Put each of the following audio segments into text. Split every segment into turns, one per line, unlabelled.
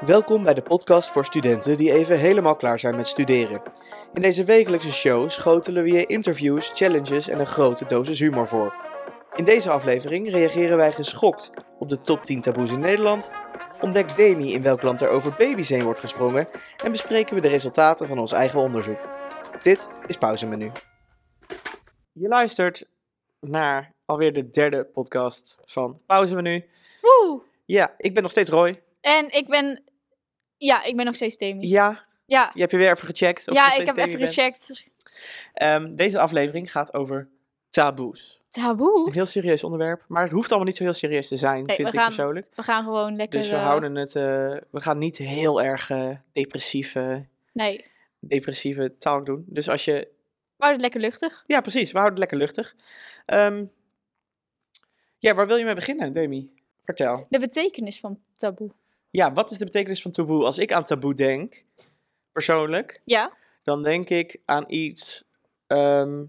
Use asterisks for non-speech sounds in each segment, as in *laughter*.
Welkom bij de podcast voor studenten die even helemaal klaar zijn met studeren. In deze wekelijkse show schotelen we je interviews, challenges en een grote dosis humor voor. In deze aflevering reageren wij geschokt op de top 10 taboes in Nederland, ontdekt Demi in welk land er over baby's heen wordt gesprongen en bespreken we de resultaten van ons eigen onderzoek. Dit is Pauzemenu. Je luistert naar alweer de derde podcast van Pauzemenu.
Woe!
Ja, ik ben nog steeds Roy.
En ik ben... Ja, ik ben nog steeds Demi. Ja,
Ja,
ja,
je hebt je weer even gecheckt. of je nog
ik
steeds
heb
Demi
even
bent.
gecheckt.
Ehm, deze aflevering gaat over taboes. Een
Taboe.
heel serieus onderwerp, maar het hoeft allemaal niet zo heel serieus te zijn,
Nee,
vind
we
ik
gaan
persoonlijk.
We gaan gewoon lekker...
Dus we
eh,
houden het, eh, we gaan niet heel erg eh, depressieve,
Nee,
depressieve taal doen. Dus als je,
we houden het lekker luchtig.
ja precies, we houden het lekker luchtig. Ehm, ja, waar wil je mee beginnen, Demi? Vertel.
De betekenis van taboe.
Ja, wat is de betekenis van taboe? Als ik aan taboe denk, persoonlijk,
Ja?
dan denk ik aan iets ehm,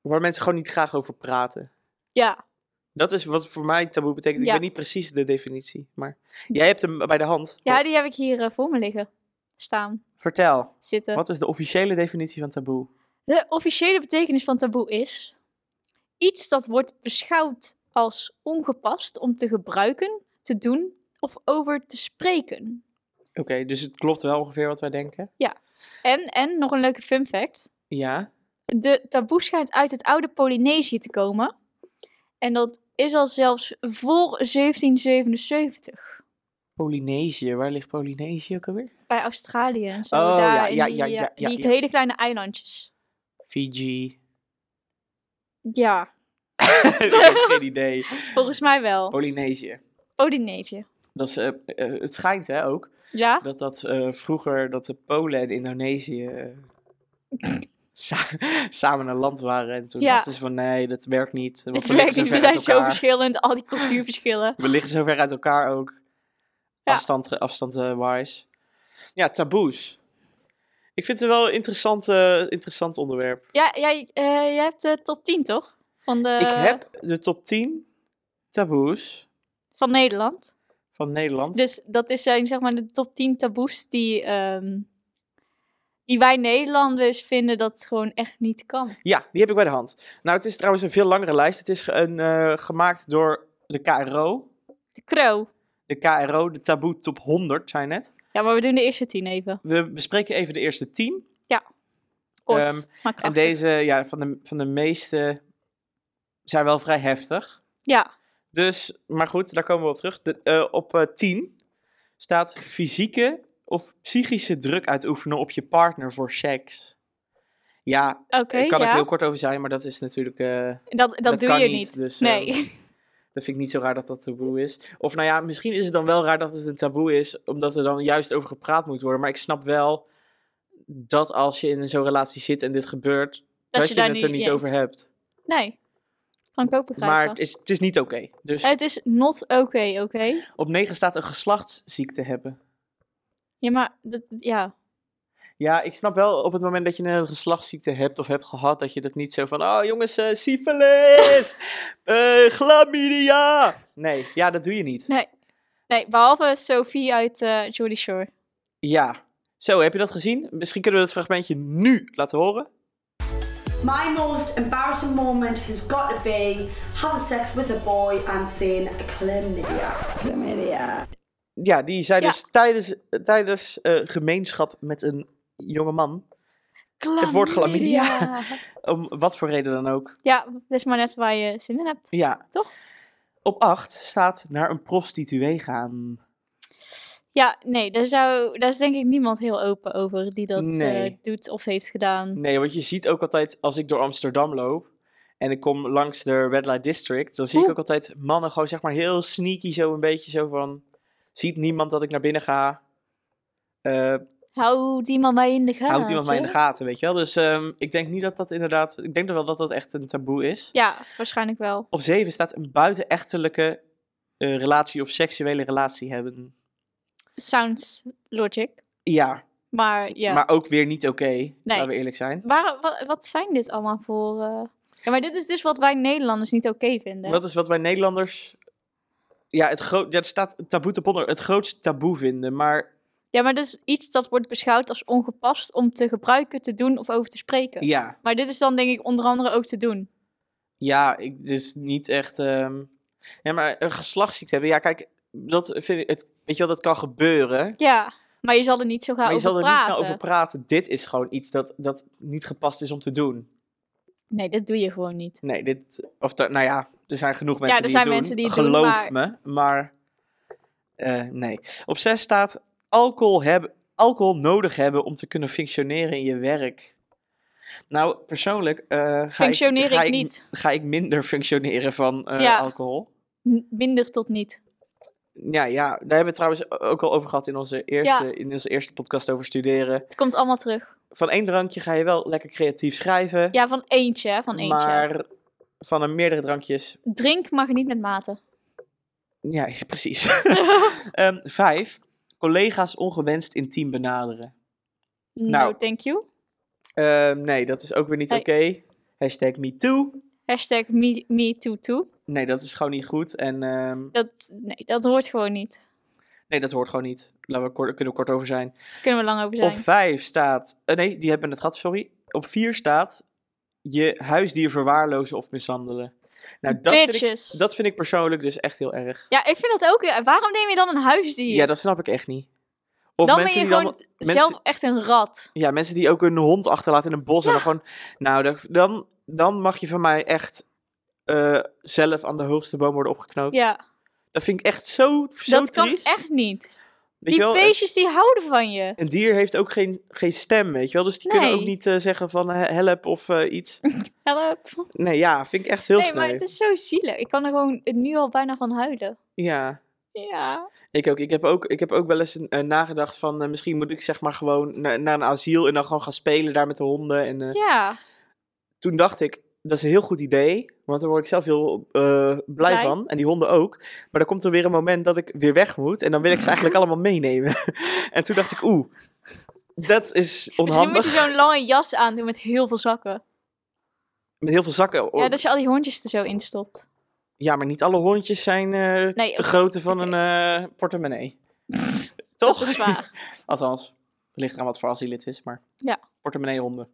waar mensen gewoon niet graag over praten.
Ja.
Dat is wat voor mij taboe betekent. Ik
Ja.
weet niet precies de definitie, maar jij hebt hem bij de hand.
Ja, die heb ik hier eh, voor me liggen. Staan.
Vertel,
Zitten.
wat is de officiële definitie van taboe?
De officiële betekenis van taboe is... Iets dat wordt beschouwd als ongepast om te gebruiken, te doen of over te spreken.
Oké, dus het klopt wel ongeveer wat wij denken.
En, en nog een leuke fun fact.
Ja,
De taboe schijnt uit het oude Polynesië te komen. En dat is al zelfs voor 1777.
Polynesië. Waar ligt Polynesië ook alweer?
Bij Australië en zo.
Oh,
daar
ja,
in
ja,
die,
ja,
eh,
ja, ja,
die
ja.
hele kleine eilandjes.
Fiji. *laughs*
Ja,
Ik heb geen idee.
volgens mij
Oh.
wel.
Polynesië.
Polynesië.
Dat is, eh, eh, het schijnt hè, ook
Ja?
dat dat eh, vroeger dat de Polen en Indonesië eh, sa- samen een land waren. En toen
Ja.
dachten ze van nee, dat werkt niet. want
Het
we liggen
werkt niet.
ver
We zijn
uit
zo
elkaar.
verschillend. Al die cultuurverschillen.
We liggen zo ver uit elkaar ook.
Ja.
Afstand, afstand eh, wise. Ja, taboes. Ik vind het wel een interessant, eh, interessant onderwerp.
Ja, jij, eh, jij hebt de top 10 toch? Van, de,
Ik heb de top 10 taboes
van Nederland.
van Nederland.
Dus dat is zijn zeg maar de top 10 taboes die, ehm, die wij Nederlanders vinden dat het gewoon echt niet kan.
Ja, die heb ik bij de hand. Nou, het is trouwens een veel langere lijst. Het is ge- een, eh, gemaakt door de KRO.
De Kro.
De KRO, de taboe top 100, zijn net.
Ja, maar we doen de eerste 10 even.
We bespreken even de eerste 10.
Kort,
Ehm,
maar
En
krachtig.
deze, ja, van de, van de meeste zijn wel vrij heftig.
Ja,
Dus, maar goed, daar komen we op terug. De, eh, op eh, 10 staat fysieke of psychische druk uitoefenen op je partner voor seks. Ja,
oké,
daar kan ik
ja.
heel kort over zijn, maar dat is natuurlijk. eh,
Dat, dat, doe
kan
je
niet,
niet.
dus,
nee.
dat vind ik niet zo raar dat dat taboe is. Of nou ja, misschien is het dan wel raar dat het een taboe is, omdat er dan juist over gepraat moet worden. Maar ik snap wel dat als je in zo'n relatie zit en dit gebeurt, dat, je, het er niet
ja.
over hebt.
*laughs* Nee. Kan ik ook begrijpen.
Maar het is, het is niet oké. Dus
het is not oké, oké?
op 9 staat een geslachtsziekte hebben.
Ja, maar dat, ja.
Ja, ik snap wel op het moment dat je een geslachtsziekte hebt of hebt gehad, dat je dat niet zo van, oh jongens, eh, syfilis, *laughs* eh, chlamydia. Nee, ja, dat doe je niet.
Nee. Nee, behalve Sophie uit eh Jordy Shore.
Ja, zo, heb je dat gezien? Misschien kunnen we dat fragmentje nu laten horen.
My most embarrassing moment has got to be having sex with a boy and saying chlamydia. Chlamydia.
Ja, die zei
Ja.
dus tijdens, tijdens eh, gemeenschap met een jonge man, Het woord chlamydia.
Chlamydia.
om wat voor reden dan ook.
*laughs* Ja, dat is maar net waar je zin in hebt.
Ja.
Toch?
Op 8 staat naar een prostituee gaan.
Ja, nee, daar, zou, daar is denk ik niemand heel open over die dat eh,
Nee.
doet of heeft gedaan.
Nee, want je ziet ook altijd als ik door Amsterdam loop en ik kom langs de Red Light District, dan zie ik
Oeh.
ook altijd mannen gewoon zeg maar heel sneaky zo een beetje zo van, ziet niemand dat ik naar binnen ga, Eh
Hou die man mij in de gaten.
houdt iemand mij in de gaten, weet je wel. Dus ehm, ik denk niet dat dat inderdaad, ik denk wel dat dat echt een taboe is.
Ja, waarschijnlijk wel.
Op zeven staat een buitenechtelijke eh, relatie of seksuele relatie hebben.
Sounds logic.
Ja,
Maar ja.
maar ook weer niet oké, laten we eerlijk zijn.
Waar, wat, wat zijn dit allemaal voor. eh, Ja, maar dit is dus wat wij Nederlanders niet oké vinden.
Dat is wat wij Nederlanders ja, het groot, ja, het staat taboe te ponder, het grootste taboe vinden. Maar
Ja, maar dus iets dat wordt beschouwd als ongepast om te gebruiken, te doen of over te spreken.
ja,
Maar dit is dan denk ik onder andere ook te doen.
ja, ik, dit is niet echt... ehm ja, maar een geslachtsziekte hebben, ja, kijk, dat vind ik, het, weet je wel, dat kan gebeuren.
Ja, maar je zal er niet zo
maar
gaan
je
Nou, over
zal er niet
praten.
snel over praten. Dit is gewoon iets dat, dat niet gepast is om te doen.
Nee, dat doe je gewoon niet.
Nee, dit... Of da- nou ja, er zijn genoeg mensen
er
die
zijn
het doen.
mensen die het doen,
Geloof me, maar... eh, nee. Op zes staat alcohol, hebben, alcohol nodig hebben om te kunnen functioneren in je werk. Nou, persoonlijk eh, ga, ik,
Functioneer
ga
ik niet.
ga ik minder *laughs* functioneren van eh,
Ja.
alcohol.
N- Minder tot niet.
Ja, ja, daar hebben we het trouwens ook al over gehad in onze eerste, in onze eerste podcast over studeren.
Het komt allemaal terug.
Van één drankje ga je wel lekker creatief schrijven.
Ja, van eentje, hè, van eentje.
Maar van een meerdere drankjes.
Drink, maar geniet met mate.
Ja, *laughs*
*laughs*
precies. Ehm, vijf. Collega's ongewenst intiem benaderen.
No,
Nou.
thank you.
Ehm, nee, dat is ook weer niet
Hey.
oké. Hashtag MeToo.
Hashtag me, me too too.
Nee, dat is gewoon niet goed. En ehm,
Dat, nee, dat hoort gewoon niet.
nee, dat hoort gewoon niet. Laten we kort, kunnen we kort over zijn.
Kunnen we lang over zijn.
Op vijf staat... eh, nee, die hebben het gehad, sorry. Op vier staat... Je huisdier verwaarlozen of mishandelen. Nou, dat vind, ik,
Bitches.
dat vind ik persoonlijk dus echt heel erg.
Ja, ik vind dat ook. ja, Waarom neem je dan een huisdier?
Ja, dat snap ik echt niet. Of
dan ben
mensen
je
die dan-
gewoon
mensen-
zelf echt een rat.
Ja, mensen die ook hun hond achterlaten in een bos. En
Ja.
dan gewoon, nou, dan- dan, dan mag je van mij echt eh, zelf aan de hoogste boom worden opgeknoopt.
Ja,
Dat vind ik echt zo, zo
dat kan
triest.
echt niet.
Weet je
Die
wel,
beestjes die houden van je.
Een dier heeft ook geen, geen stem, weet je wel. Dus die kunnen ook
Nee.
niet eh, zeggen van eh, help of eh,
*laughs*
iets.
Help.
Nee, ja, vind ik echt heel
nee,
sneu.
maar het is zo zielig. Ik kan er gewoon nu al bijna van huilen.
Ja,
Ja.
ik ook. Ik heb ook, ik heb ook wel eens een- eh, nagedacht van eh, misschien moet ik zeg maar gewoon na- naar een asiel en dan gewoon gaan spelen daar met de honden. En, eh,
Ja.
toen dacht ik, dat is een heel goed idee, want daar word ik zelf heel eh, blij,
Blij.
van. En die honden ook. Maar dan komt er weer een moment dat ik weer weg moet en dan
*laughs*
wil ik ze eigenlijk allemaal meenemen. *laughs* en toen dacht ik, oeh, dat is
Misschien moet
onhandig.
Dus je zo'n lange jas aandoen met heel veel zakken.
Met heel veel zakken. Oh,
Ja, dus- dat je al die hondjes er zo in stopt.
Ja, maar niet alle hondjes zijn eh
Nee,
de
oké,
grootte van
oké.
een eh,
*laughs*
portemonnee.
Dat
Toch?
is waar.
*laughs* Althans, het ligt aan wat voor asiel het is, maar
Ja.
portemonnee
*laughs*
honden.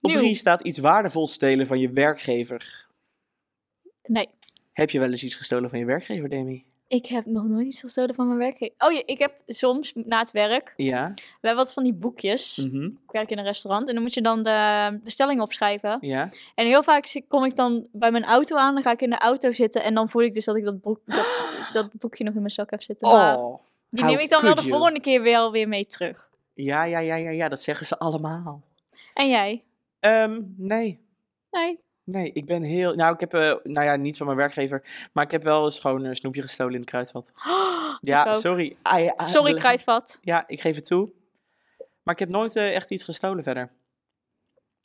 Op
Nieuw.
drie staat iets waardevols stelen van je werkgever.
Nee,
Heb je wel eens iets gestolen van je werkgever, Demi?
ik heb nog nooit iets gestolen van mijn werk. Oh ja, ik heb soms na het werk,
Ja.
we hebben wat van die boekjes.
Mhm.
Ik werk in een restaurant en dan moet je dan de bestelling opschrijven.
Ja.
En heel vaak zie- kom ik dan bij mijn auto aan, dan ga ik in de auto zitten en dan voel ik dus dat ik dat, boek, dat, dat boekje nog in mijn zak heb zitten. Maar
Oh.
die
how
neem ik dan wel de
could you?
volgende keer wel weer mee terug.
Ja, ja, ja, ja, ja, dat zeggen ze allemaal.
En jij?
Ehm, nee.
Nee. *gasps*
Nee, ik ben heel. Nou, ik heb. eh, nou ja, niet van mijn werkgever. Maar ik heb wel eens gewoon een snoepje gestolen in het kruidvat.
Ik
Ja,
ook.
sorry. Ah, ja, ah,
Sorry,
bl-
kruidvat.
Ja, ik geef het toe. Maar ik heb nooit eh, echt iets gestolen verder.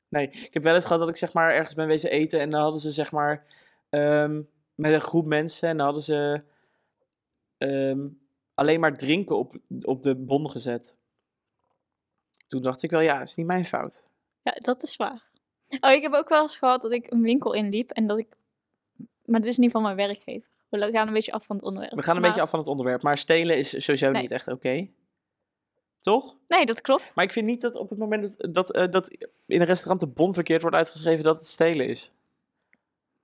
Nee, ik heb wel eens gehad dat ik zeg maar ergens ben wezen eten. En dan hadden ze zeg maar. ehm, met een groep mensen. En dan hadden ze. ehm, alleen maar drinken op, op de bon gezet. Toen dacht ik wel, ja, is niet mijn fout.
Ja, dat is waar. Oh, ik heb ook wel eens gehad dat ik een winkel inliep en dat ik... Maar dit is niet van mijn werkgever. We gaan een beetje af van het onderwerp.
We gaan een
Maar-
beetje af van het onderwerp, maar stelen is sowieso
Nee.
niet echt oké. Toch?
Nee, dat klopt.
Maar ik vind niet dat op het moment dat, dat, eh, dat in een restaurant de bon verkeerd wordt uitgeschreven, dat het stelen is.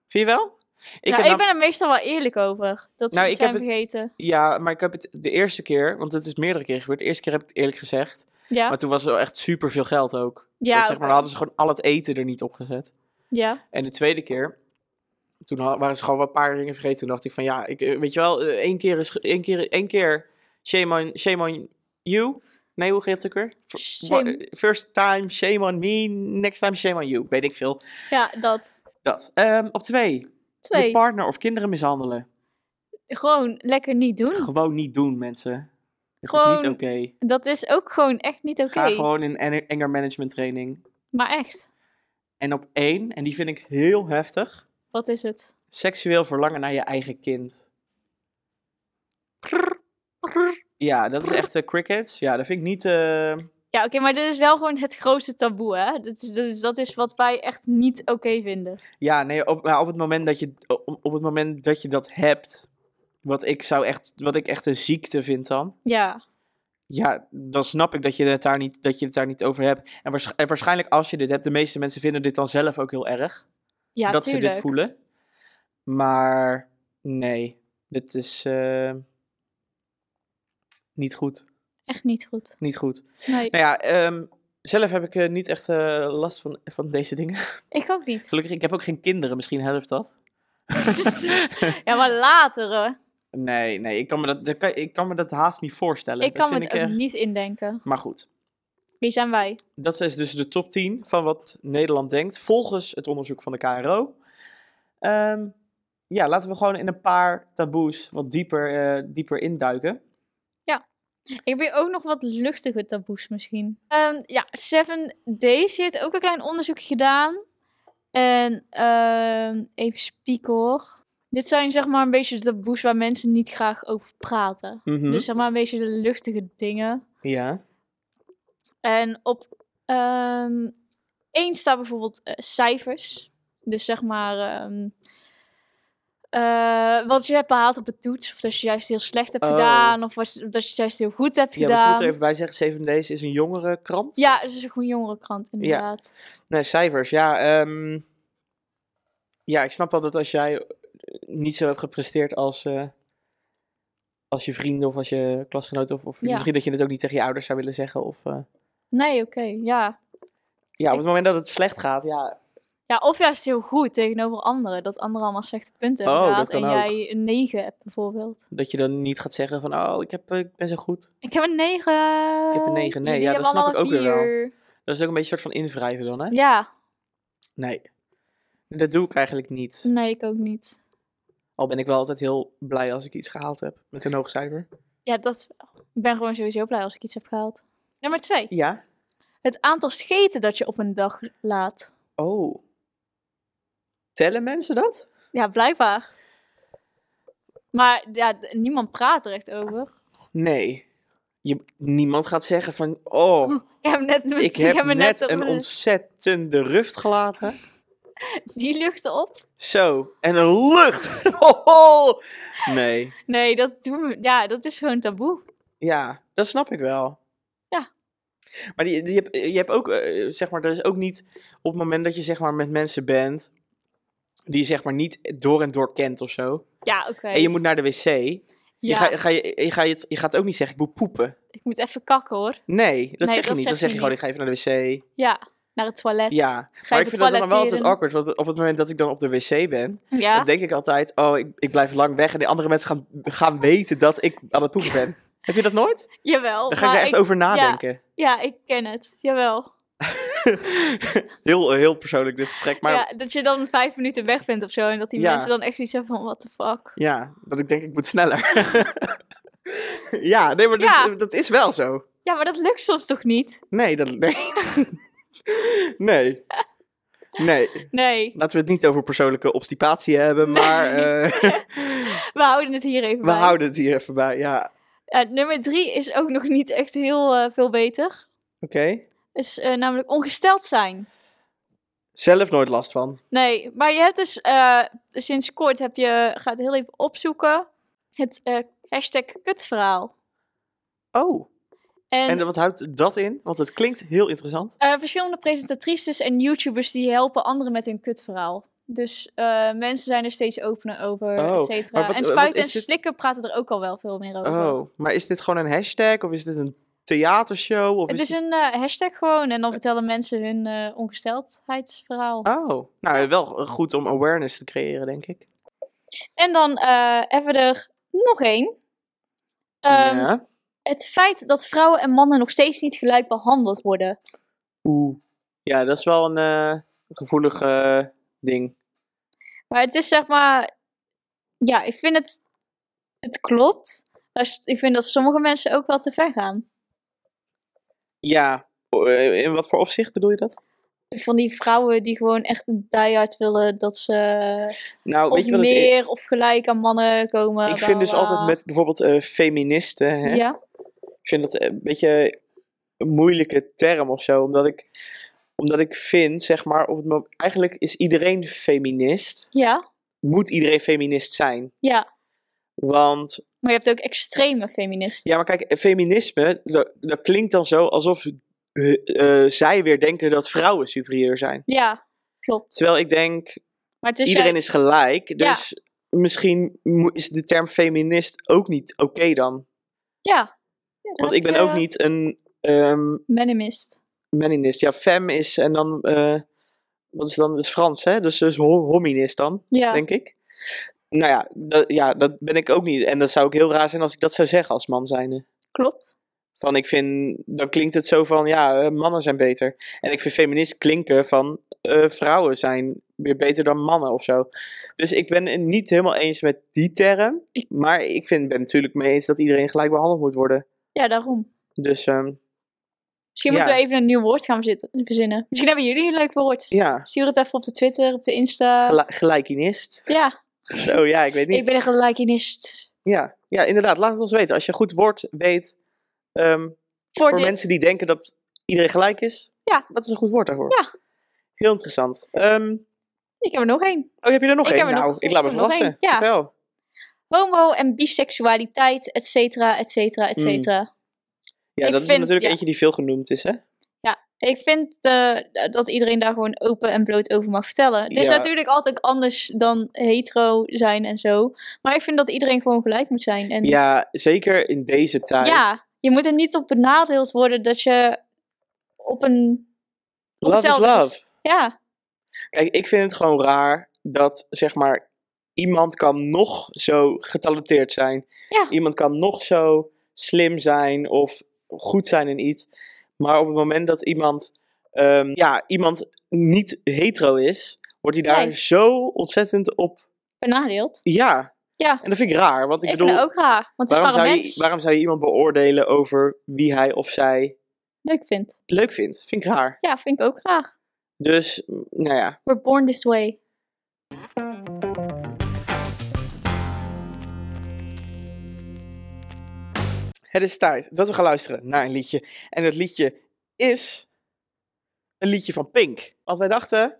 Vind je wel?
Ik,
heb
nou, ik
nam-
ben er meestal wel eerlijk over. Dat ze
Nou,
het
ik
zijn
heb het-
vergeten.
Ja, maar ik heb het de eerste keer, want het is meerdere keren gebeurd. De eerste keer heb ik het eerlijk gezegd.
Ja,
Maar toen was er wel echt super veel geld ook.
ja,
dat, zeg maar,
oké.
dan hadden ze gewoon al het eten er niet op gezet.
ja.
En de tweede keer, toen ha- waren ze gewoon wel een paar dingen vergeten. Toen dacht ik van ja, ik, eh, weet je wel, eh, één keer is ge- één keer, één keer shame on, shame on you. Nee, hoe gaat het ook weer? F- wa-
Shame.
eh, First time, shame on me. Next time, shame on you. Weet ik veel.
ja, dat.
Dat. Ehm, op twee, Je
Twee.
partner of kinderen mishandelen.
Gewoon lekker niet doen.
Gewoon niet doen, mensen. Het is niet
Hm. Gewoon
oké.
Dat is ook gewoon echt niet oké.
Ga gewoon in en- anger management training.
Maar echt,
En op één, en die vind ik heel heftig.
wat is het?
seksueel verlangen naar je eigen kind. Ja, dat is echt eh, crickets. Ja, dat vind ik niet. eh,
Ja, oké, maar dit is wel gewoon het grootste taboe, hè? Dat is, dat is, dat is wat wij echt niet oké vinden.
Ja, nee, op, maar op, het moment dat je, op, op het moment dat je dat hebt, Wat ik, zou echt, wat ik echt een ziekte vind dan.
Ja,
Ja, dan snap ik dat je het daar niet, dat je het daar niet over hebt. En, waarsch- en waarschijnlijk als je dit hebt, de meeste mensen vinden dit dan zelf ook heel erg.
ja
dat
tuurlijk.
ze dit voelen. Maar nee, dit is eh, niet goed.
Echt niet goed.
Niet goed.
Nee,
Nou ja, ehm, zelf heb ik eh, niet echt eh, last van, van deze dingen. *laughs*
ik ook niet.
Gelukkig, ik heb ook geen kinderen. Misschien helpt dat.
ja, maar later. hè.
Nee, nee, ik kan me dat, dat kan- ik kan me dat haast niet voorstellen.
Ik
Dat
kan me
vind
het ook
echt-
niet indenken.
Maar goed,
Wie zijn wij?
dat is dus de top 10 van wat Nederland denkt, volgens het onderzoek van de KRO. Ehm, ja, laten we gewoon in een paar taboes wat dieper, eh, dieper induiken.
Ik heb hier ook nog wat luchtige taboes misschien. Ehm, ja, Seven Days die heeft ook een klein onderzoek gedaan. En ehm, even spieken hoor. Dit zijn zeg maar een beetje de taboes waar mensen niet graag over praten.
Mhm.
Dus zeg maar een beetje de luchtige dingen.
ja.
En op ehm één staat bijvoorbeeld eh, cijfers. Dus zeg maar ehm, eh, wat je hebt behaald op het toets. Of dat je juist heel slecht hebt
Oh.
gedaan. Of was- dat je juist heel goed hebt
ja, dus ik
gedaan.
moet er even bij zeggen, 7 Days is een jongere krant.
Ja, het is een gewoon jongerenkrant inderdaad.
Nee, cijfers, ja. ehm, ja, ik snap wel dat als jij eh, niet zo hebt gepresteerd als, eh, als je vrienden of als je klasgenoten... Of, of
Ja.
misschien dat je het ook niet tegen je ouders zou willen zeggen. Of, eh,
Nee, oké, ja.
ja, op
Ik-
het moment dat het slecht gaat, ja.
Ja, of juist heel goed tegenover anderen. Dat anderen allemaal slechte punten
Oh,
hebben
dat
gehaald.
kan
En
ook.
jij een 9 hebt bijvoorbeeld.
Dat je dan niet gaat zeggen van, oh, ik, heb, eh, ik ben zo goed.
Ik heb een 9.
Ik heb een negen, nee, ja, dat snap ik ook weer wel. Dat is ook een beetje een soort van invrijven dan, hè?
Ja,
Nee. Dat doe ik eigenlijk niet.
nee, ik ook niet.
Al ben ik wel altijd heel blij als ik iets gehaald heb met een hoog cijfer.
Ja, dat wel. Ik ben gewoon sowieso blij als ik iets heb gehaald. Nummer twee.
Ja.
Het aantal scheten dat je op een dag laat.
Oh. Tellen mensen dat?
Ja, blijkbaar. Maar ja, d- niemand praat er echt over.
Nee. Je, niemand gaat zeggen van, *laughs* oh,
Ik heb net,
ik
*laughs* ik
heb
me
net
op
een ontzettende ruft gelaten.
Die luchten op.
Zo, en een lucht. *laughs* Hoho. Nee.
Nee, dat doen we. Ja, dat is gewoon taboe.
Ja, dat snap ik wel.
Ja.
Maar die, die heb, je hebt ook, eh, zeg maar, er is ook niet op het moment dat je zeg maar met mensen bent die je zeg maar niet door en door kent of zo.
Ja, oké.
En je moet naar de wc. Je,
Ja,
ga, ga je, je, ga je, het- je gaat ook niet zeggen, ik moet poepen.
ik moet even kakken hoor.
Nee, dat
Nee,
zeg je niet. Dan zeg je gewoon, ik ga even naar de wc.
Ja, naar het toilet.
Ja,
Ga
maar ik
even
vind dat dan wel altijd
toiletteren.
awkward. Want op het moment dat ik dan op de wc ben,
Ja,
dan denk ik altijd, oh, ik, ik blijf lang weg. En de andere mensen gaan, gaan weten dat ik aan het poepen
*laughs*
ben. Heb je dat nooit?
jawel.
Dan ga ik
maar
er echt over nadenken. *laughs*
Ja, ik ken het. Jawel.
heel, heel persoonlijk dit gesprek. Maar ja.
Ja, dat je dan vijf minuten weg bent of zo. En dat die
Ja.
mensen dan echt iets hebben van, what the fuck.
dat ik denk ik moet sneller. *laughs* ja, nee, maar dat,
Ja.
dat is wel zo.
Ja, maar dat lukt soms toch niet?
Nee, dat, nee. *laughs* nee. Nee.
Nee,
Laten we het niet over persoonlijke obstipatie hebben, maar eh, *laughs*
we houden het hier even
we
bij.
houden het hier even bij. Ja,
Eh, nummer drie is ook nog niet echt heel eh, veel beter.
oké.
Is eh, namelijk ongesteld zijn.
Zelf nooit last van.
Nee, maar je hebt dus eh, sinds kort heb je, ga het heel even opzoeken, het eh, hashtag kutverhaal.
Oh,
En,
en wat houdt dat in? Want het klinkt heel interessant.
eh, verschillende presentatrices en YouTubers die helpen anderen met hun kutverhaal. Dus eh, mensen zijn er steeds opener over,
Oh,
et cetera.
maar wat-
En
wat
spuiten en
is dit?
slikken praten er ook al wel veel meer over.
Oh, maar is dit gewoon een hashtag of is dit een theatershow? Of
Het
is
is
dit-
een eh, hashtag gewoon en dan vertellen mensen hun eh, ongesteldheidsverhaal.
Oh, nou wel goed om awareness te creëren, denk ik.
En dan eh, hebben we er nog één. Ehm,
ja.
Het feit dat vrouwen en mannen nog steeds niet gelijk behandeld worden.
Oeh. Ja, dat is wel een eh, gevoelig eh, ding.
Maar het is zeg maar, ja, ik vind het, het klopt. Maar s- ik vind dat sommige mensen ook wel te ver gaan.
Ja, eh, in wat voor opzicht bedoel je dat?
Van die vrouwen die gewoon echt diehard willen dat ze
Nou,
of
weet je wat het is?
meer of gelijk aan mannen komen.
Ik
bla,
vind dus
bla,
altijd
bla.
met bijvoorbeeld eh, feministen, hè?
Ja,
ik vind dat een beetje een moeilijke term of zo, omdat ik, omdat ik vind, zeg maar, op het moment, eigenlijk is iedereen feminist,
ja,
moet iedereen feminist zijn.
ja.
Want,
Maar je hebt ook extreme feministen.
ja, maar kijk, feminisme, dat, dat klinkt dan zo alsof eh, eh, zij weer denken dat vrouwen superieur zijn.
Ja, klopt.
Terwijl ik denk,
Maar het is
iedereen
juist-
is gelijk,
Dus Ja.
dus misschien mo- is de term feminist ook niet oké dan.
Ja.
Want ik ben ook niet een ehm
Menemist.
meninist. Ja, fem is en dan, eh, wat is dan het Frans, hè? Dus, dus ho- hominist dan.
Ja.
denk ik. Nou ja dat, ja, dat ben ik ook niet. En dat zou ook heel raar zijn als ik dat zou zeggen als man zijnde.
Klopt.
Van ik vind, dan klinkt het zo van, ja, eh, mannen zijn beter. En ik vind feminist klinken van, eh, vrouwen zijn weer beter dan mannen of zo. Dus ik ben het niet helemaal eens met die term. Maar ik vind, ben natuurlijk mee eens dat iedereen gelijk behandeld moet worden.
Ja, daarom.
Dus ehm,
Misschien
Ja.
moeten we even een nieuw woord gaan verzitten- verzinnen. Misschien hebben jullie een leuk woord.
ja,
Stuur het even op de Twitter, op de Insta.
gel- gelijkinist.
ja,
Zo ja, ik weet niet.
ik ben een gelijkinist.
Ja, ja, inderdaad, laat het ons weten. Als je een goed woord weet, ehm,
Voor,
voor
dit.
mensen die denken dat iedereen gelijk is.
Ja.
Dat is een goed woord daarvoor.
Ja.
Heel interessant. Ehm,
Ik heb er nog één.
oh, heb je er nog
Ik
één?
heb er
Nou,
nog-
ik laat me
ik heb er nog
verrassen.
één, ja.
Vertel.
Homo en biseksualiteit, et cetera, et cetera, et
Mm.
cetera.
Ja,
Ik
dat is
vind-
natuurlijk
ja.
eentje die veel genoemd is, hè?
Ik vind eh, dat iedereen daar gewoon open en bloot over mag vertellen. Het is
Ja.
natuurlijk altijd anders dan hetero zijn en zo. Maar ik vind dat iedereen gewoon gelijk moet zijn. En
Ja, zeker in deze tijd.
Ja, je moet er niet op benadeeld worden dat je op een... op
love is
hetzelfde is.
love.
Ja,
Kijk, ik vind het gewoon raar dat, zeg maar, iemand kan nog zo getalenteerd zijn.
Ja.
Iemand kan nog zo slim zijn of goed zijn in iets. Maar op het moment dat iemand, ehm, ja, iemand niet hetero is, wordt hij daar
Nee.
zo ontzettend op.
benadeeld.
Ja.
Ja.
En dat vind ik raar, want ik,
Ik,
bedoel,
vind het ook raar, want het is
waarom,
maar
zou
een
je,
mens
waarom zou je iemand beoordelen over wie hij of zij
leuk vindt.
leuk vindt? Vind ik raar.
Ja, vind ik ook graag.
Dus, m, nou ja.
We're born this way.
Het is tijd dat we gaan luisteren naar een liedje. En het liedje is een liedje van Pink. Want wij dachten,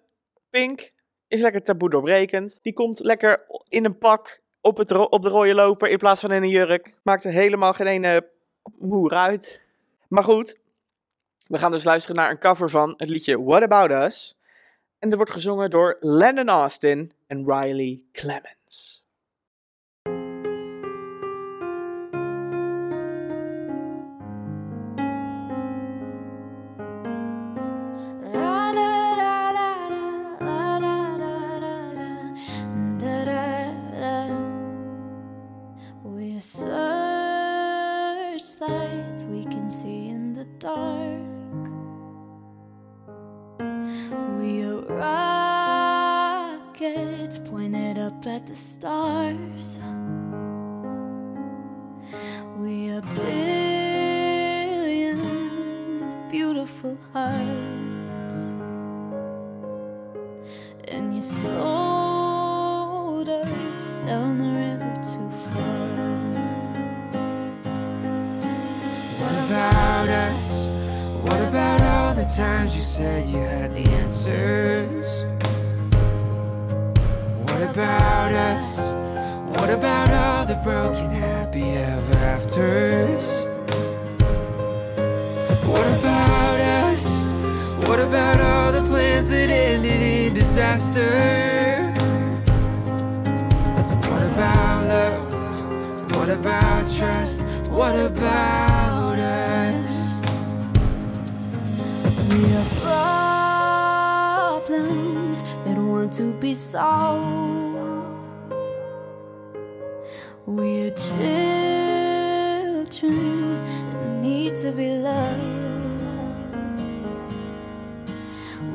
Pink is lekker taboe doorbrekend. Die komt lekker in een pak op, het ro- op de rode loper in plaats van in een jurk. Maakt er helemaal geen ene moer uit. Maar goed, we gaan dus luisteren naar een cover van het liedje What About Us. En dat wordt gezongen door Lennon Austin en Riley Clemens.
We're searchlights we can see in the dark. We are rockets pointed up at the stars. We are billions of beautiful hearts. And you sold us down the river too far.
What about us? What about all the times you said you had the answers? What about us? What about all the broken happy ever afters? What about us? What about all the plans that ended in disaster? What about love? What about trust? What about us?
We are problems that want to be solved. We are children that need to be loved.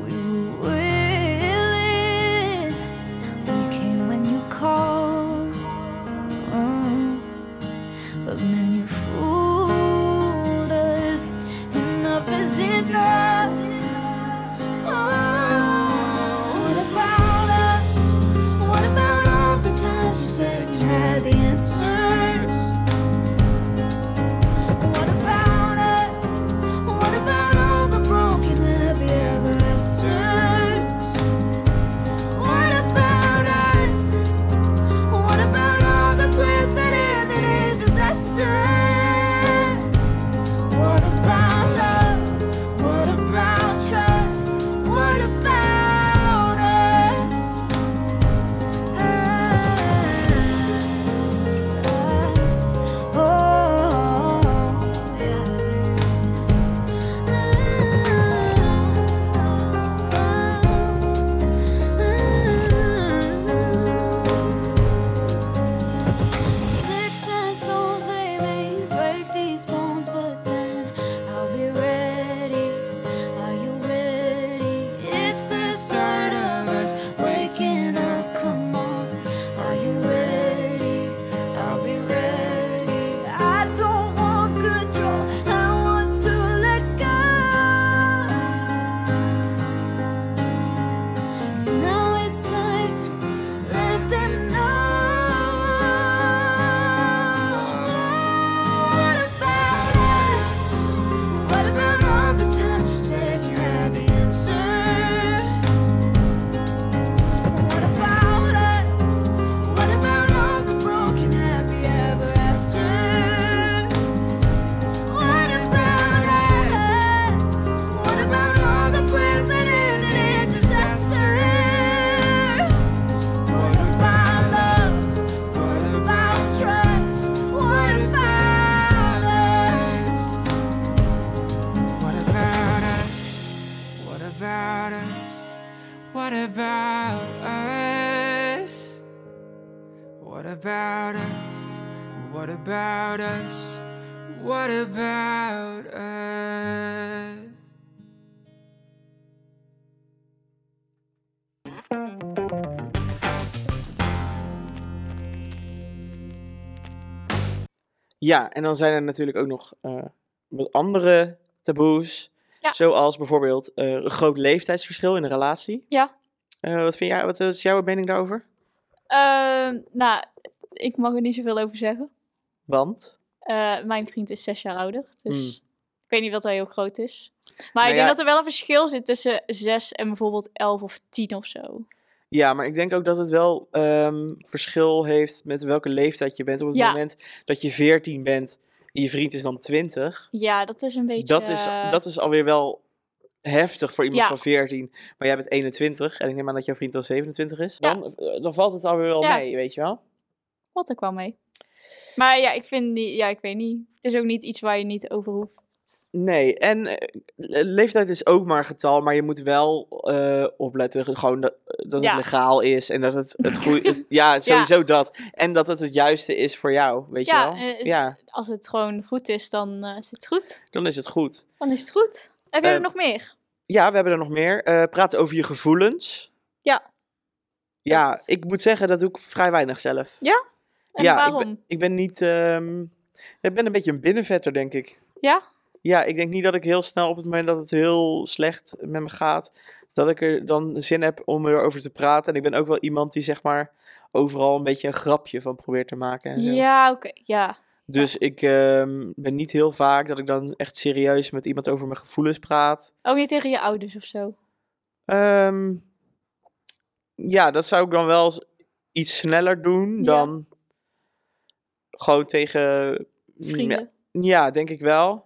We were willing. We came when you called. Mm. But man, you fooled us. Enough is enough. Oh, what about us? What about all the times you said you had the answers? What about us? What about all the broken happy ever afters? What about us? What about all the plans that Ah, ah, Ah,
about us? What about us?
Ja, en dan zijn er natuurlijk ook nog eh, wat andere taboes.
Ja.
Zoals bijvoorbeeld eh, een groot leeftijdsverschil in een relatie.
Ja.
Eh, wat, vind jij, wat is jouw mening daarover?
Ehm, nou, ik mag er niet zoveel over zeggen.
Want?
Eh, mijn vriend is zes jaar ouder, dus
Hmm.
ik weet niet wat hij heel groot is. Maar
Nou
ik denk
ja.
dat er wel een verschil zit tussen zes en bijvoorbeeld elf of tien of zo.
Ja, maar ik denk ook dat het wel ehm, verschil heeft met welke leeftijd je bent. Op het
Ja.
moment dat je 14 bent en je vriend is dan 20.
Ja, dat is een beetje... eh,
Dat is, dat is alweer wel heftig voor iemand
Ja.
van 14. Maar jij bent 21 en ik neem aan dat jouw vriend dan 27 is.
Ja.
Dan, eh, dan valt het alweer wel
Ja.
mee, weet je wel?
Wat er kwam mee. Maar ja, ik vind die, ja, ik weet niet. Het is ook niet iets waar je niet over hoeft.
Nee, en eh, le- leeftijd is ook maar een getal, maar je moet wel eh, opletten gewoon dat, eh, dat
Ja.
het legaal is en dat het het
*laughs*
goede... ja, sowieso dat. En dat het het juiste is voor jou, weet
Ja,
je wel?
eh,
ja,
Als het gewoon goed is, dan eh, is het goed.
dan is het goed.
Dan is het goed. Heb je
Eh,
er nog meer?
Ja, we hebben er nog meer. Eh praten over je gevoelens.
Ja.
Ja,
Dat-
ik moet zeggen, dat doe ik vrij weinig zelf.
En
ja,
waarom?
Ik ben, ik ben niet... ehm, ik ben een beetje een binnenvetter, denk ik.
Ja?
Ja, ik denk niet dat ik heel snel op het moment dat het heel slecht met me gaat, dat ik er dan zin heb om erover te praten. En ik ben ook wel iemand die zeg maar overal een beetje een grapje van probeert te maken en zo.
Ja, oké. Ja.
Dus ik ehm, ben niet heel vaak dat ik dan echt serieus met iemand over mijn gevoelens praat.
Ook niet tegen je ouders of zo.
Ehm, ja, dat zou ik dan wel s- iets sneller doen
Ja.
dan gewoon tegen
Vrienden.
Mm, Ja, denk ik wel.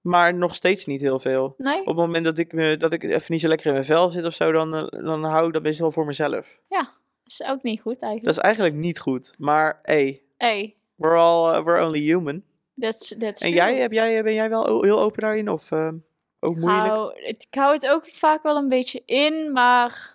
Maar nog steeds niet heel veel.
Nee?
op het moment dat ik, me, dat ik even niet zo lekker in mijn vel zit of zo, dan, eh, dan hou ik dat best wel voor mezelf.
Dat is ook niet goed eigenlijk.
Dat is eigenlijk niet goed. Maar hey,
Hey,
we're, all, eh, we're only human.
that's, that's
En
true.
jij, heb jij, eh, ben jij wel o- heel open daarin? Of eh,
Nou,
ook moeilijk?
Hou, ik hou het ook vaak wel een beetje in, maar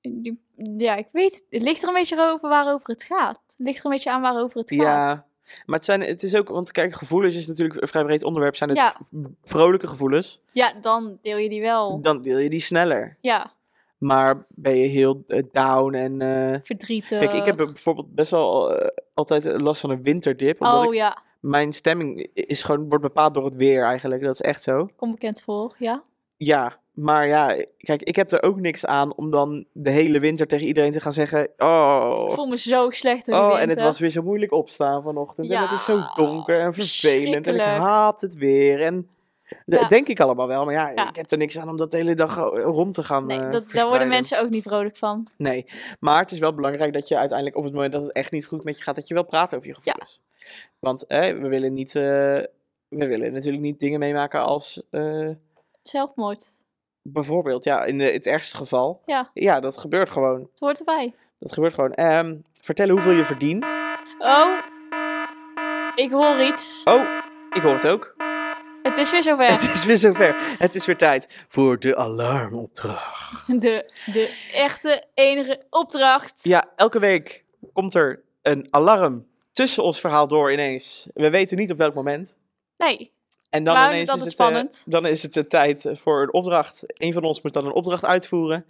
die- ja, ik weet het. Het ligt er een beetje over waarover het gaat. Het ligt er een beetje aan waarover het gaat.
ja. Maar het, zijn, het is ook, want kijk, gevoelens is natuurlijk een vrij breed onderwerp. Zijn het
Ja.
v- vrolijke gevoelens,
Ja, dan deel je die wel.
dan deel je die sneller.
Ja,
Maar ben je heel eh, down en... eh,
verdrietig.
Kijk, ik heb bijvoorbeeld best wel eh, altijd last van een winterdip. Omdat
Oh
ik,
ja,
mijn stemming is gewoon, wordt bepaald door het weer eigenlijk. Dat is echt zo.
kom bekend voor, ja.
Ja, maar ja, kijk, ik heb er ook niks aan om dan de hele winter tegen iedereen te gaan zeggen:
Ik
Oh,
voel me zo slecht door die
oh en het
winter.
was weer zo moeilijk opstaan vanochtend. En het is zo
Ja,
donker en vervelend. En ik
verschrikkelijk.
haat het weer. En dat
Ja.
denk ik allemaal wel, maar ja,
Ja.
ik heb er niks aan om dat de hele dag eh, rond te gaan.
Nee,
eh,
dat, daar worden
verspreiden.
mensen ook niet vrolijk van.
Nee, maar het is wel belangrijk dat je uiteindelijk op het moment dat het echt niet goed met je gaat, dat je wel praat over je gevoelens. Want eh, we willen niet. eh, we willen natuurlijk niet dingen meemaken als. eh,
Zelfmoord.
Bijvoorbeeld, ja, in de- het ergste geval.
Ja.
Ja, dat gebeurt gewoon.
Het hoort erbij.
Dat gebeurt gewoon. Ehm, vertellen hoeveel je verdient.
Oh, ik hoor iets.
Oh, ik hoor het ook.
Het is weer zover.
*laughs* Het is weer zover. Het is weer tijd voor de alarmopdracht.
De, de echte enige opdracht.
Ja, elke week komt er een alarm tussen ons verhaal door ineens. We weten niet op welk moment.
Nee,
En dan
Maar we
ineens
vinden
is
het
het, eh,
spannend.
dan is het de tijd eh, voor een opdracht. Eén van ons moet dan een opdracht uitvoeren.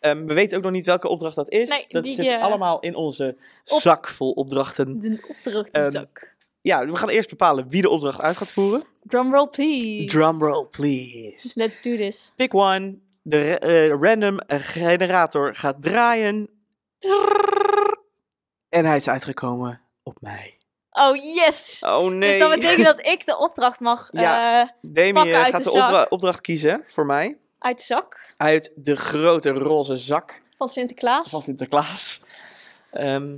Ehm, we weten ook nog niet welke opdracht dat is.
Nee,
dat
die,
zit
eh,
allemaal in onze
op-
zak vol opdrachten.
de
Ehm,
opdrachtenzak.
Ja, we gaan eerst bepalen wie de opdracht uit gaat voeren.
Drumroll, please.
Drumroll, please.
Let's do this.
Pick one. De ra- eh, random generator gaat draaien. En hij is uitgekomen op mij.
Oh, yes.
Oh nee.
Dus dat betekent dat ik de opdracht mag
*laughs* Ja.
eh,
Demi
pakken
eh,
uit
gaat de,
de zak.
opdra- opdracht kiezen voor mij.
uit de zak
Uit de grote roze zak
van Sinterklaas.
van Sinterklaas. Ehm,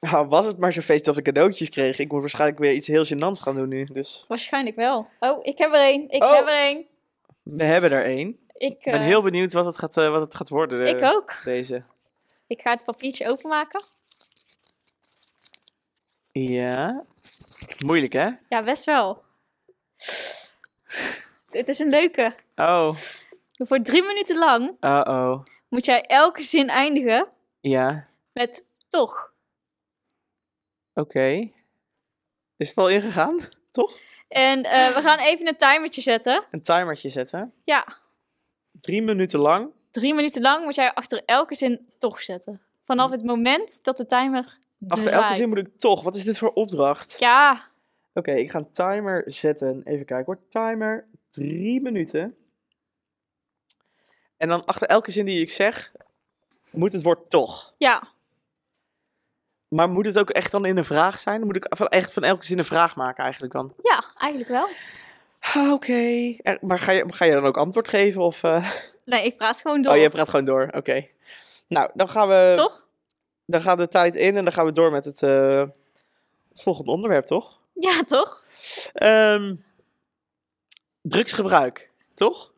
nou, was het maar zo'n feest dat we cadeautjes kregen. Ik moet waarschijnlijk weer iets heel gênants gaan doen nu. Dus
Waarschijnlijk wel. Oh, ik heb er één. Ik
Oh.
heb er één.
we hebben er één.
Ik,
Ik ben
eh,
heel benieuwd wat het gaat, eh, wat het gaat worden.
ik
eh,
ook.
Deze.
Ik ga het papiertje openmaken.
Ja. Moeilijk, hè?
Ja, best
*laughs*
wel. Dit is een leuke.
Oh.
Voor drie minuten lang
Uh-oh.
moet jij elke zin eindigen
Ja.
met toch.
Oké. Is het al ingegaan? Toch?
En eh, we gaan even een timertje zetten.
Een timertje zetten.
Ja,
Drie minuten lang.
drie minuten lang moet jij achter elke zin toch zetten. Vanaf het moment dat de timer
Hm. Achter elke
draait.
zin moet ik toch. Wat is dit voor opdracht?
Ja,
Oké, ik ga een timer zetten. Even kijken hoor. Timer, drie minuten. En dan achter elke zin die ik zeg, moet het woord toch.
ja.
Maar moet het ook echt dan in een vraag zijn? Dan moet ik van, echt van elke zin een vraag maken eigenlijk dan?
Ja, eigenlijk wel.
Ah, Oké. Er- Maar ga je, ga je dan ook antwoord geven? Of, eh?
Nee, ik praat gewoon door.
Oh, je praat gewoon door. Oké. Nou, dan gaan we...
Toch?
Dan gaat de tijd in en dan gaan we door met het eh, volgende onderwerp, toch?
Ja, toch? *laughs*
Ehm, drugsgebruik, toch?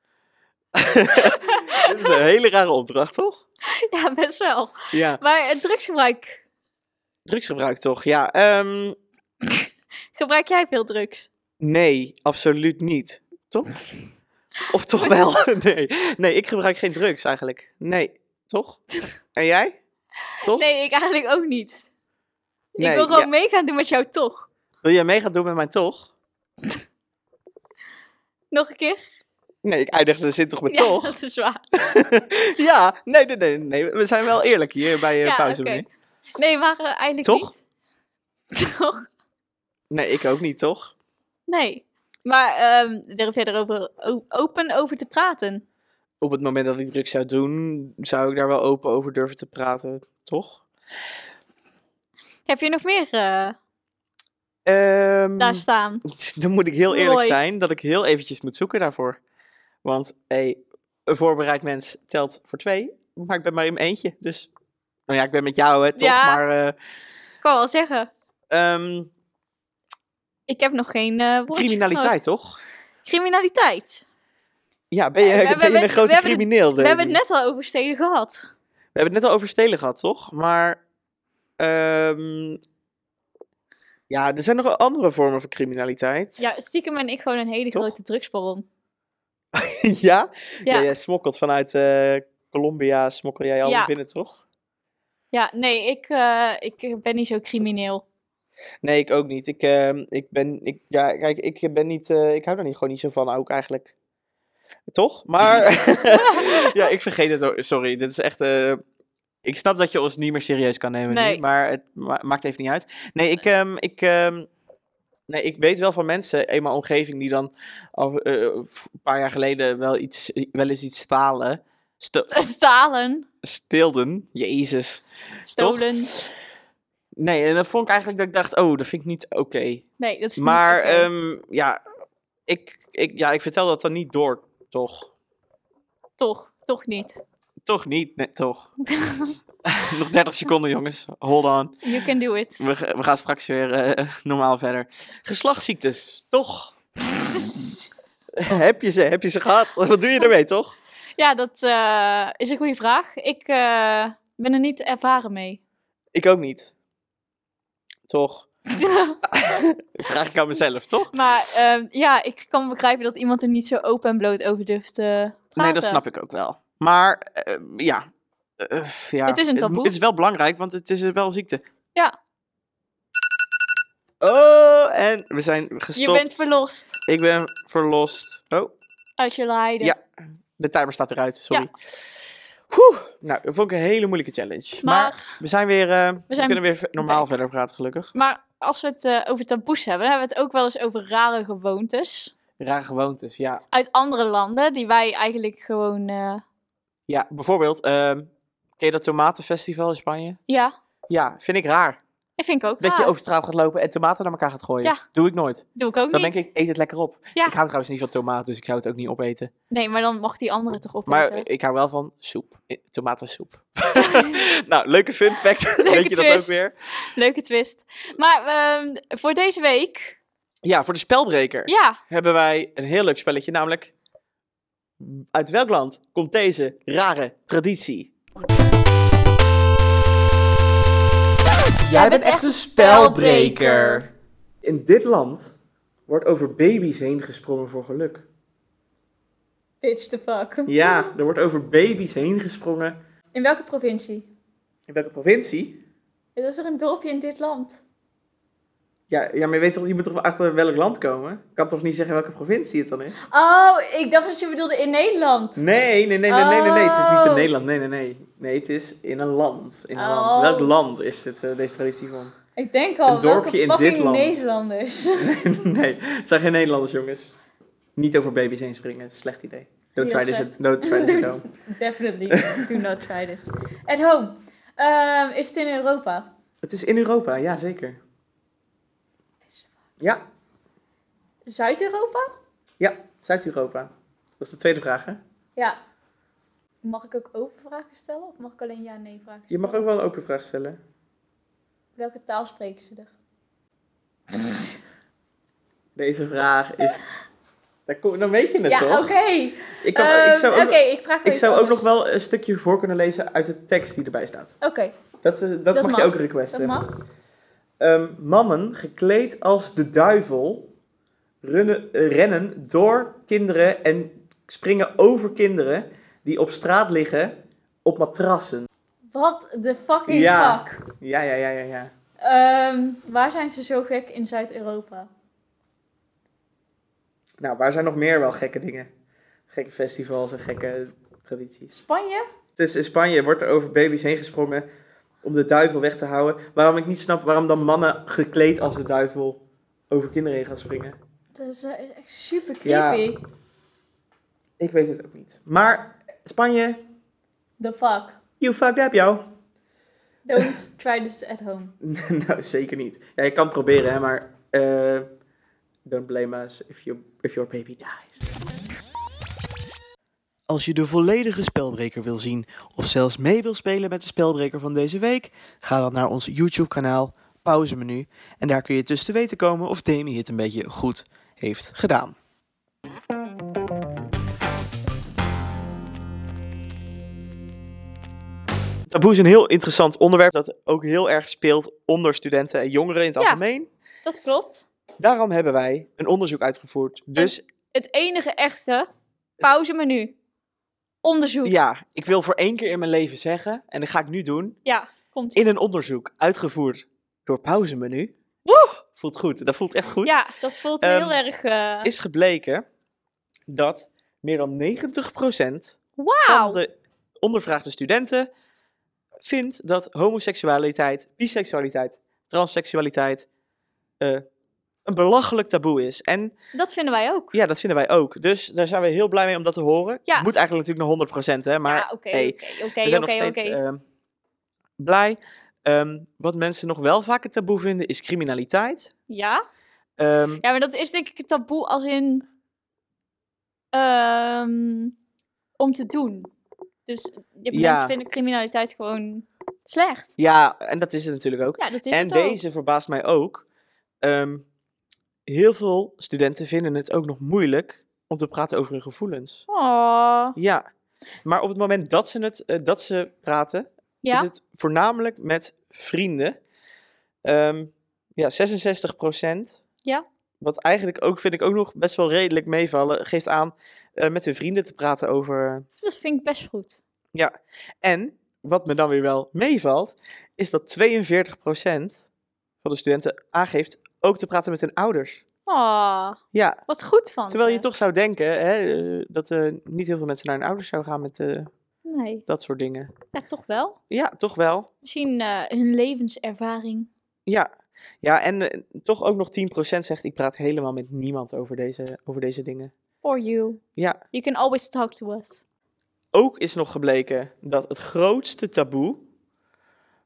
*laughs* Dit is een hele rare opdracht, toch?
Ja, best wel.
Ja.
Maar het drugsgebruik.
Drugsgebruik, toch? Ja. ehm,
Gebruik jij veel drugs?
nee, absoluut niet.
*laughs*
Toch? Of toch wel? *laughs* Nee. nee, ik gebruik geen drugs eigenlijk. Nee,
*laughs*
toch? En jij? Toch?
Nee, ik eigenlijk ook niet.
Nee,
ik wil gewoon
ja.
mee gaan doen met jou toch.
Wil jij mee gaan doen met mij, toch?
Nog een keer?
Nee, ik eindigde de zin toch met
Ja,
toch?
*laughs* dat is waar.
Ja, nee, nee, nee, nee. We zijn wel eerlijk hier bij eh
ja,
pauze.
oké.
meneer.
Nee, maar eh, eigenlijk
Toch?
niet. *laughs* Toch?
Nee, ik ook niet, toch?
Nee. Maar ehm durf jij erover o- open over te praten?
Op het moment dat ik drugs zou doen, zou ik daar wel open over durven te praten, toch?
Heb je nog meer eh,
Ehm,
daar staan?
dan moet ik heel eerlijk
Mooi.
zijn dat ik heel eventjes moet zoeken daarvoor. Want hey, een voorbereid mens telt voor twee, maar ik ben maar in mijn eentje. Dus, nou ja, ik ben met jou, hè, toch?
Ja.
Maar, eh,
Ik kan wel zeggen.
ehm,
Ik heb nog geen eh woordje
criminaliteit, toch?
voor. Criminaliteit.
Ja, ben je,
Eh, we
ben je
hebben-
een
we
grote
hebben het-
crimineel?
We hebben
Remy?
het net al over steden gehad.
We hebben het net al over stelen gehad, toch? Maar. ehm, ja, er zijn nog wel andere vormen van criminaliteit.
Ja, stiekem ben ik gewoon een hele
Toch?
grote drugsbaron.
*laughs* ja?
Ja.
Ja, jij smokkelt vanuit eh, Colombia, smokkel jij al
Ja.
binnen, toch?
Ja, nee, ik, eh, ik ben niet zo crimineel. *laughs*
Nee, ik ook niet. Ik, ehm, ik ben. Ik, ja, kijk, ik ben niet. eh, ik hou daar niet, gewoon niet zo van, ook eigenlijk. Toch? Maar. *laughs* ja, ik vergeet het. ook. Sorry, dit is echt. eh, ik snap dat je ons niet meer serieus kan nemen nu,
Nee.
maar het ma- maakt even niet uit. Nee, ik, ehm, ik, ehm, nee, ik weet wel van mensen in mijn omgeving die dan al, eh, een paar jaar geleden wel, iets, wel eens iets stalen. Sto-
Stalen,
stilden. Jezus.
stolen.
Nee, en dat vond ik eigenlijk dat ik dacht, oh, dat vind ik niet oké.
Nee, dat is niet
Maar
oké.
ehm, ja, ik, ik, ja, ik vertel dat dan niet door, toch?
toch, toch niet. *laughs*
Toch niet, nee, toch? *laughs* Nog 30 seconden, jongens. Hold on.
You can do it.
We, ga- we gaan straks weer eh, *laughs* normaal verder. Geslachtsziektes, toch? *laughs* heb, je ze, heb je ze gehad? Wat doe je ermee, toch?
Ja, dat eh, is een goede vraag. Ik eh, ben er niet ervaren mee. *laughs*
Ik ook niet. Toch? Vraag ik aan mezelf, toch?
maar ehm, ja, ik kan begrijpen dat iemand er niet zo open en bloot over durft te praten.
Nee, dat snap ik ook wel. Maar eh, ja. Eh, ja.
Het is een
mo-
taboe.
Het, is wel belangrijk, want het is eh, wel een ziekte.
Ja.
Oh, en we zijn
Je
gestopt.
bent verlost
Ik ben verlost. Oh,
uit je lijden.
Ja. de timer staat eruit. Sorry. Oeh, nou, dat vond ik een hele moeilijke challenge. Maar,
Maar,
we zijn weer. eh, we,
zijn
kunnen weer v- normaal
back.
verder praten, gelukkig.
maar als we het eh, over taboes hebben, dan hebben we het ook wel eens over rare gewoontes.
Rare gewoontes, ja.
Uit andere landen, die wij eigenlijk gewoon... eh,
Ja, bijvoorbeeld, ehm, ken je dat tomatenfestival in Spanje?
ja,
Ja, vind ik raar.
dat vind ik ook
Dat je
raar.
over straat gaat lopen en tomaten naar elkaar gaat gooien.
Ja.
Doe ik nooit.
Doe ik ook
Dan
niet.
denk ik, eet het lekker op.
Ja.
Ik hou trouwens niet van tomaat, dus ik zou het ook niet opeten.
Nee, maar dan mag die andere toch opeten.
Maar ik hou wel van soep. Eh, Tomatensoep. *laughs* nou, leuke fun
*laughs*
fact. Weet je dat ook
twist.
weer?
Leuke twist. Maar ehm, voor deze week,
Ja, voor de spelbreker
ja,
hebben wij een heel leuk spelletje, namelijk... Uit welk land komt deze rare traditie? Jij bent echt een spelbreker. In dit land wordt over baby's heen gesprongen voor geluk.
Bitch the fuck.
Ja, er wordt over baby's heen gesprongen.
In welke provincie?
In welke provincie?
Het is er een dorpje in dit land.
Ja, ja, maar je, weet toch, je moet toch wel achter welk land komen? Ik kan toch niet zeggen welke provincie het dan is?
Oh, ik dacht dat je bedoelde in Nederland.
Nee, nee, nee, nee, nee, nee, nee. Het is niet in
Oh.
Nederland. Nee, nee, nee. Nee, het is in een land. In een
Oh.
land. Welk land is dit, eh, deze traditie van? *laughs*
Ik denk al,
Een dorpje
welke
in dit
fucking
land.
Nederlanders. *laughs*
nee, het zijn geen Nederlanders, jongens. Niet over baby's heen springen. Slecht idee. Don't
Heel
try this,
slecht.
at, don't try this at
*laughs*
home.
Definitely do not try this. At home. Ehm, is het in Europa?
Het is in Europa, ja, zeker. Ja,
Zuid-Europa?
ja, Zuid-Europa. Dat is de tweede vraag, hè?
Ja. Mag ik ook open vragen stellen? Of mag ik alleen ja-nee vragen
Je
stellen?
mag ook wel een open vraag stellen.
Welke taal spreken ze er?
Deze vraag is...
*laughs*
Daar kom, dan weet je het,
ja,
toch?
oké.
Ik, kan,
Ehm,
ik zou, ook,
Oké, ik vraag wel
ik
iets
zou ook nog
anders.
wel een stukje voor kunnen lezen uit de tekst die erbij staat.
Oké,
Dat, eh, dat,
Dat
mag,
mag.
je ook
dat
requesten.
mag.
Ehm, mannen gekleed als de duivel runnen, eh, rennen door kinderen en springen over kinderen die op straat liggen op matrassen.
Wat de fucking
Ja.
fuck?
Ja, ja, ja, ja, ja.
Ehm, waar zijn ze zo gek in Zuid-Europa?
Nou, waar zijn nog meer wel gekke dingen? Gekke festivals en gekke tradities.
Spanje?
Het is in Spanje wordt er over baby's heen gesprongen om de duivel weg te houden. Waarom ik niet snap waarom dan mannen gekleed als de duivel over kinderen heen gaan springen.
Dat is eh, is echt super
Ja.
creepy.
Ik weet het ook niet. Maar Spanje,
The fuck?
you fucked up jou.
Don't try this at home.
*laughs* nou, zeker niet. Ja, je kan het proberen, hè, maar eh, don't blame us if, you, if your baby dies. Als je de volledige spelbreker wil zien of zelfs mee wil spelen met de spelbreker van deze week, ga dan naar ons YouTube kanaal pauzemenu en daar kun je tussen te weten komen of Demi het een beetje goed heeft gedaan. Taboe is een heel interessant onderwerp dat ook heel erg speelt onder studenten en jongeren in het
Ja.
algemeen.
Dat klopt.
Daarom hebben wij een onderzoek uitgevoerd. Dus
Het enige echte pauzemenu. Onderzoek. Ja.
ja, ik wil voor één keer in mijn leven zeggen, en dat ga ik nu doen,
komt
in een onderzoek uitgevoerd door pauzemenu. Voelt goed, dat voelt echt goed.
Ja, dat voelt
Ehm,
heel erg... eh,
Is gebleken dat meer dan 90% van
Wauw!
de ondervraagde studenten vindt dat homoseksualiteit, biseksualiteit, transseksualiteit eh, een belachelijk taboe is. En
Dat vinden wij ook.
ja, dat vinden wij ook. Dus daar zijn we heel blij mee om dat te horen.
Ja.
Het moet eigenlijk natuurlijk naar 100%, hè, maar
ja, oké,
hey,
oké, oké,
we zijn
oké,
nog steeds
oké.
ehm, blij. Ehm, wat mensen nog wel vaak een taboe vinden is criminaliteit.
Ja?
Ehm,
Ja, maar dat is denk ik een taboe als in... ehm, om te doen. Dus je-
Ja.
mensen vinden criminaliteit gewoon slecht.
ja, en dat is het natuurlijk ook.
Ja, dat is
en
het ook.
deze verbaast mij ook. Ehm, heel veel studenten vinden het ook nog moeilijk om te praten over hun gevoelens.
Oh,
Ja, maar op het moment dat ze, het, eh, dat ze praten,
ja?
is het voornamelijk met vrienden. Ehm, ja, 66 procent.
Ja.
Wat eigenlijk ook, vind ik ook nog best wel redelijk meevallen, geeft aan eh, met hun vrienden te praten over. eh,
Dat vind ik best goed.
En wat me dan weer wel meevalt, is dat 42 procent van de studenten aangeeft ook te praten met hun ouders.
Oh,
Ja,
wat goed van
Ah. terwijl je
ze.
toch zou denken hè, eh, dat eh, niet heel veel mensen naar hun ouders zouden gaan met eh,
Nee,
dat soort dingen.
ja, toch wel.
Ja, toch wel.
Misschien eh, hun levenservaring.
Ja, ja en eh, toch ook nog 10% zegt ik praat helemaal met niemand over deze, over deze dingen.
For you.
Ja,
You can always talk to us.
ook is nog gebleken dat het grootste taboe.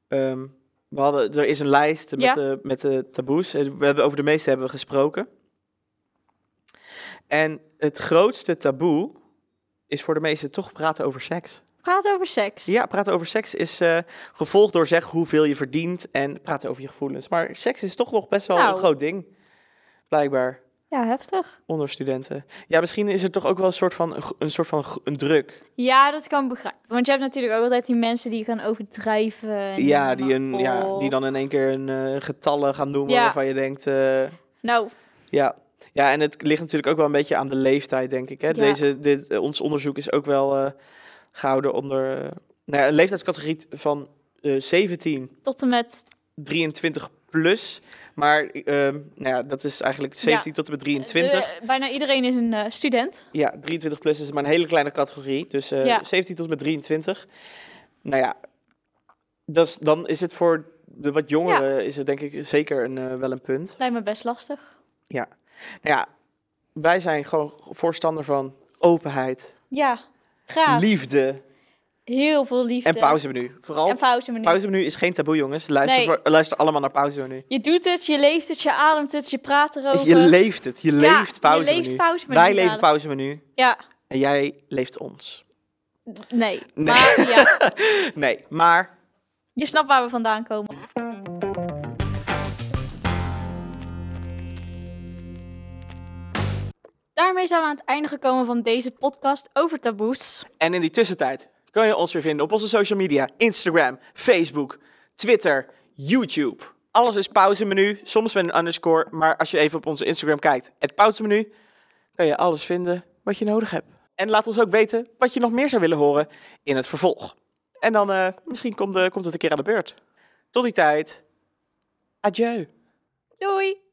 ehm, we hadden, er is een lijst met,
Ja.
de, met de taboes. Eh, We hebben, over de meeste hebben we gesproken. En het grootste taboe is voor de meesten toch praten over seks.
Praat over seks.
Ja, praten over seks is eh, gevolgd door zeg hoeveel je verdient en praten over je gevoelens. Maar seks is toch nog best wel
Nou.
een groot ding, blijkbaar.
Ja, heftig.
onder studenten. Ja, misschien is er toch ook wel een soort van, een gro- een soort van gro- een druk.
Ja, dat kan begrijpen. Want je hebt natuurlijk ook altijd die mensen die gaan overdrijven. en
Ja,
helemaal-
die, een, ja,
Oh.
die dan in één keer een eh, getallen gaan noemen
Ja.
waarvan je denkt... eh,
Nou,
ja. ja, en het ligt natuurlijk ook wel een beetje aan de leeftijd, denk ik. Hè?
Ja.
Deze, dit, eh, ons onderzoek is ook wel eh, gehouden onder eh, nou ja, een leeftijdscategorie van eh 17,
tot en met...
23 plus. Maar ehm, nou ja, dat is eigenlijk 17 tot en met 23.
De- bijna iedereen is een eh, student.
Ja, 23 plus is maar een hele kleine categorie. Dus eh,
Ja.
17 tot en met 23. Nou ja, dat is- dan is het voor de wat jongeren is het denk ik zeker een, eh, wel een punt.
Lijkt me best lastig.
Ja. Nou ja, wij zijn gewoon voorstander van openheid,
Ja, graag.
liefde
Heel veel liefde.
en pauzemenu. Vooral
En pauzemenu.
pauzemenu is geen taboe, jongens. Luister,
Nee.
voor- luister allemaal naar pauzemenu.
Je doet het, je leeft het, je ademt het, je praat erover.
Je leeft het. Je
Ja,
leeft pauzemenu.
Je leeft pauzemenu.
Wij leven
inderdaad.
pauzemenu
Ja,
en jij leeft ons.
nee. Maar ja,
Nee, maar
je snapt waar we vandaan komen. Daarmee zijn we aan het einde gekomen van deze podcast over taboes.
En in die tussentijd kan je ons weer vinden op onze social media: Instagram, Facebook, Twitter, YouTube. Alles is pauzemenu, soms met een underscore. Maar als je even op onze Instagram kijkt, het pauzemenu, kan je alles vinden wat je nodig hebt. En laat ons ook weten wat je nog meer zou willen horen in het vervolg. En dan eh, misschien komt, eh, komt het een keer aan de beurt. Tot die tijd. Adieu.
Doei!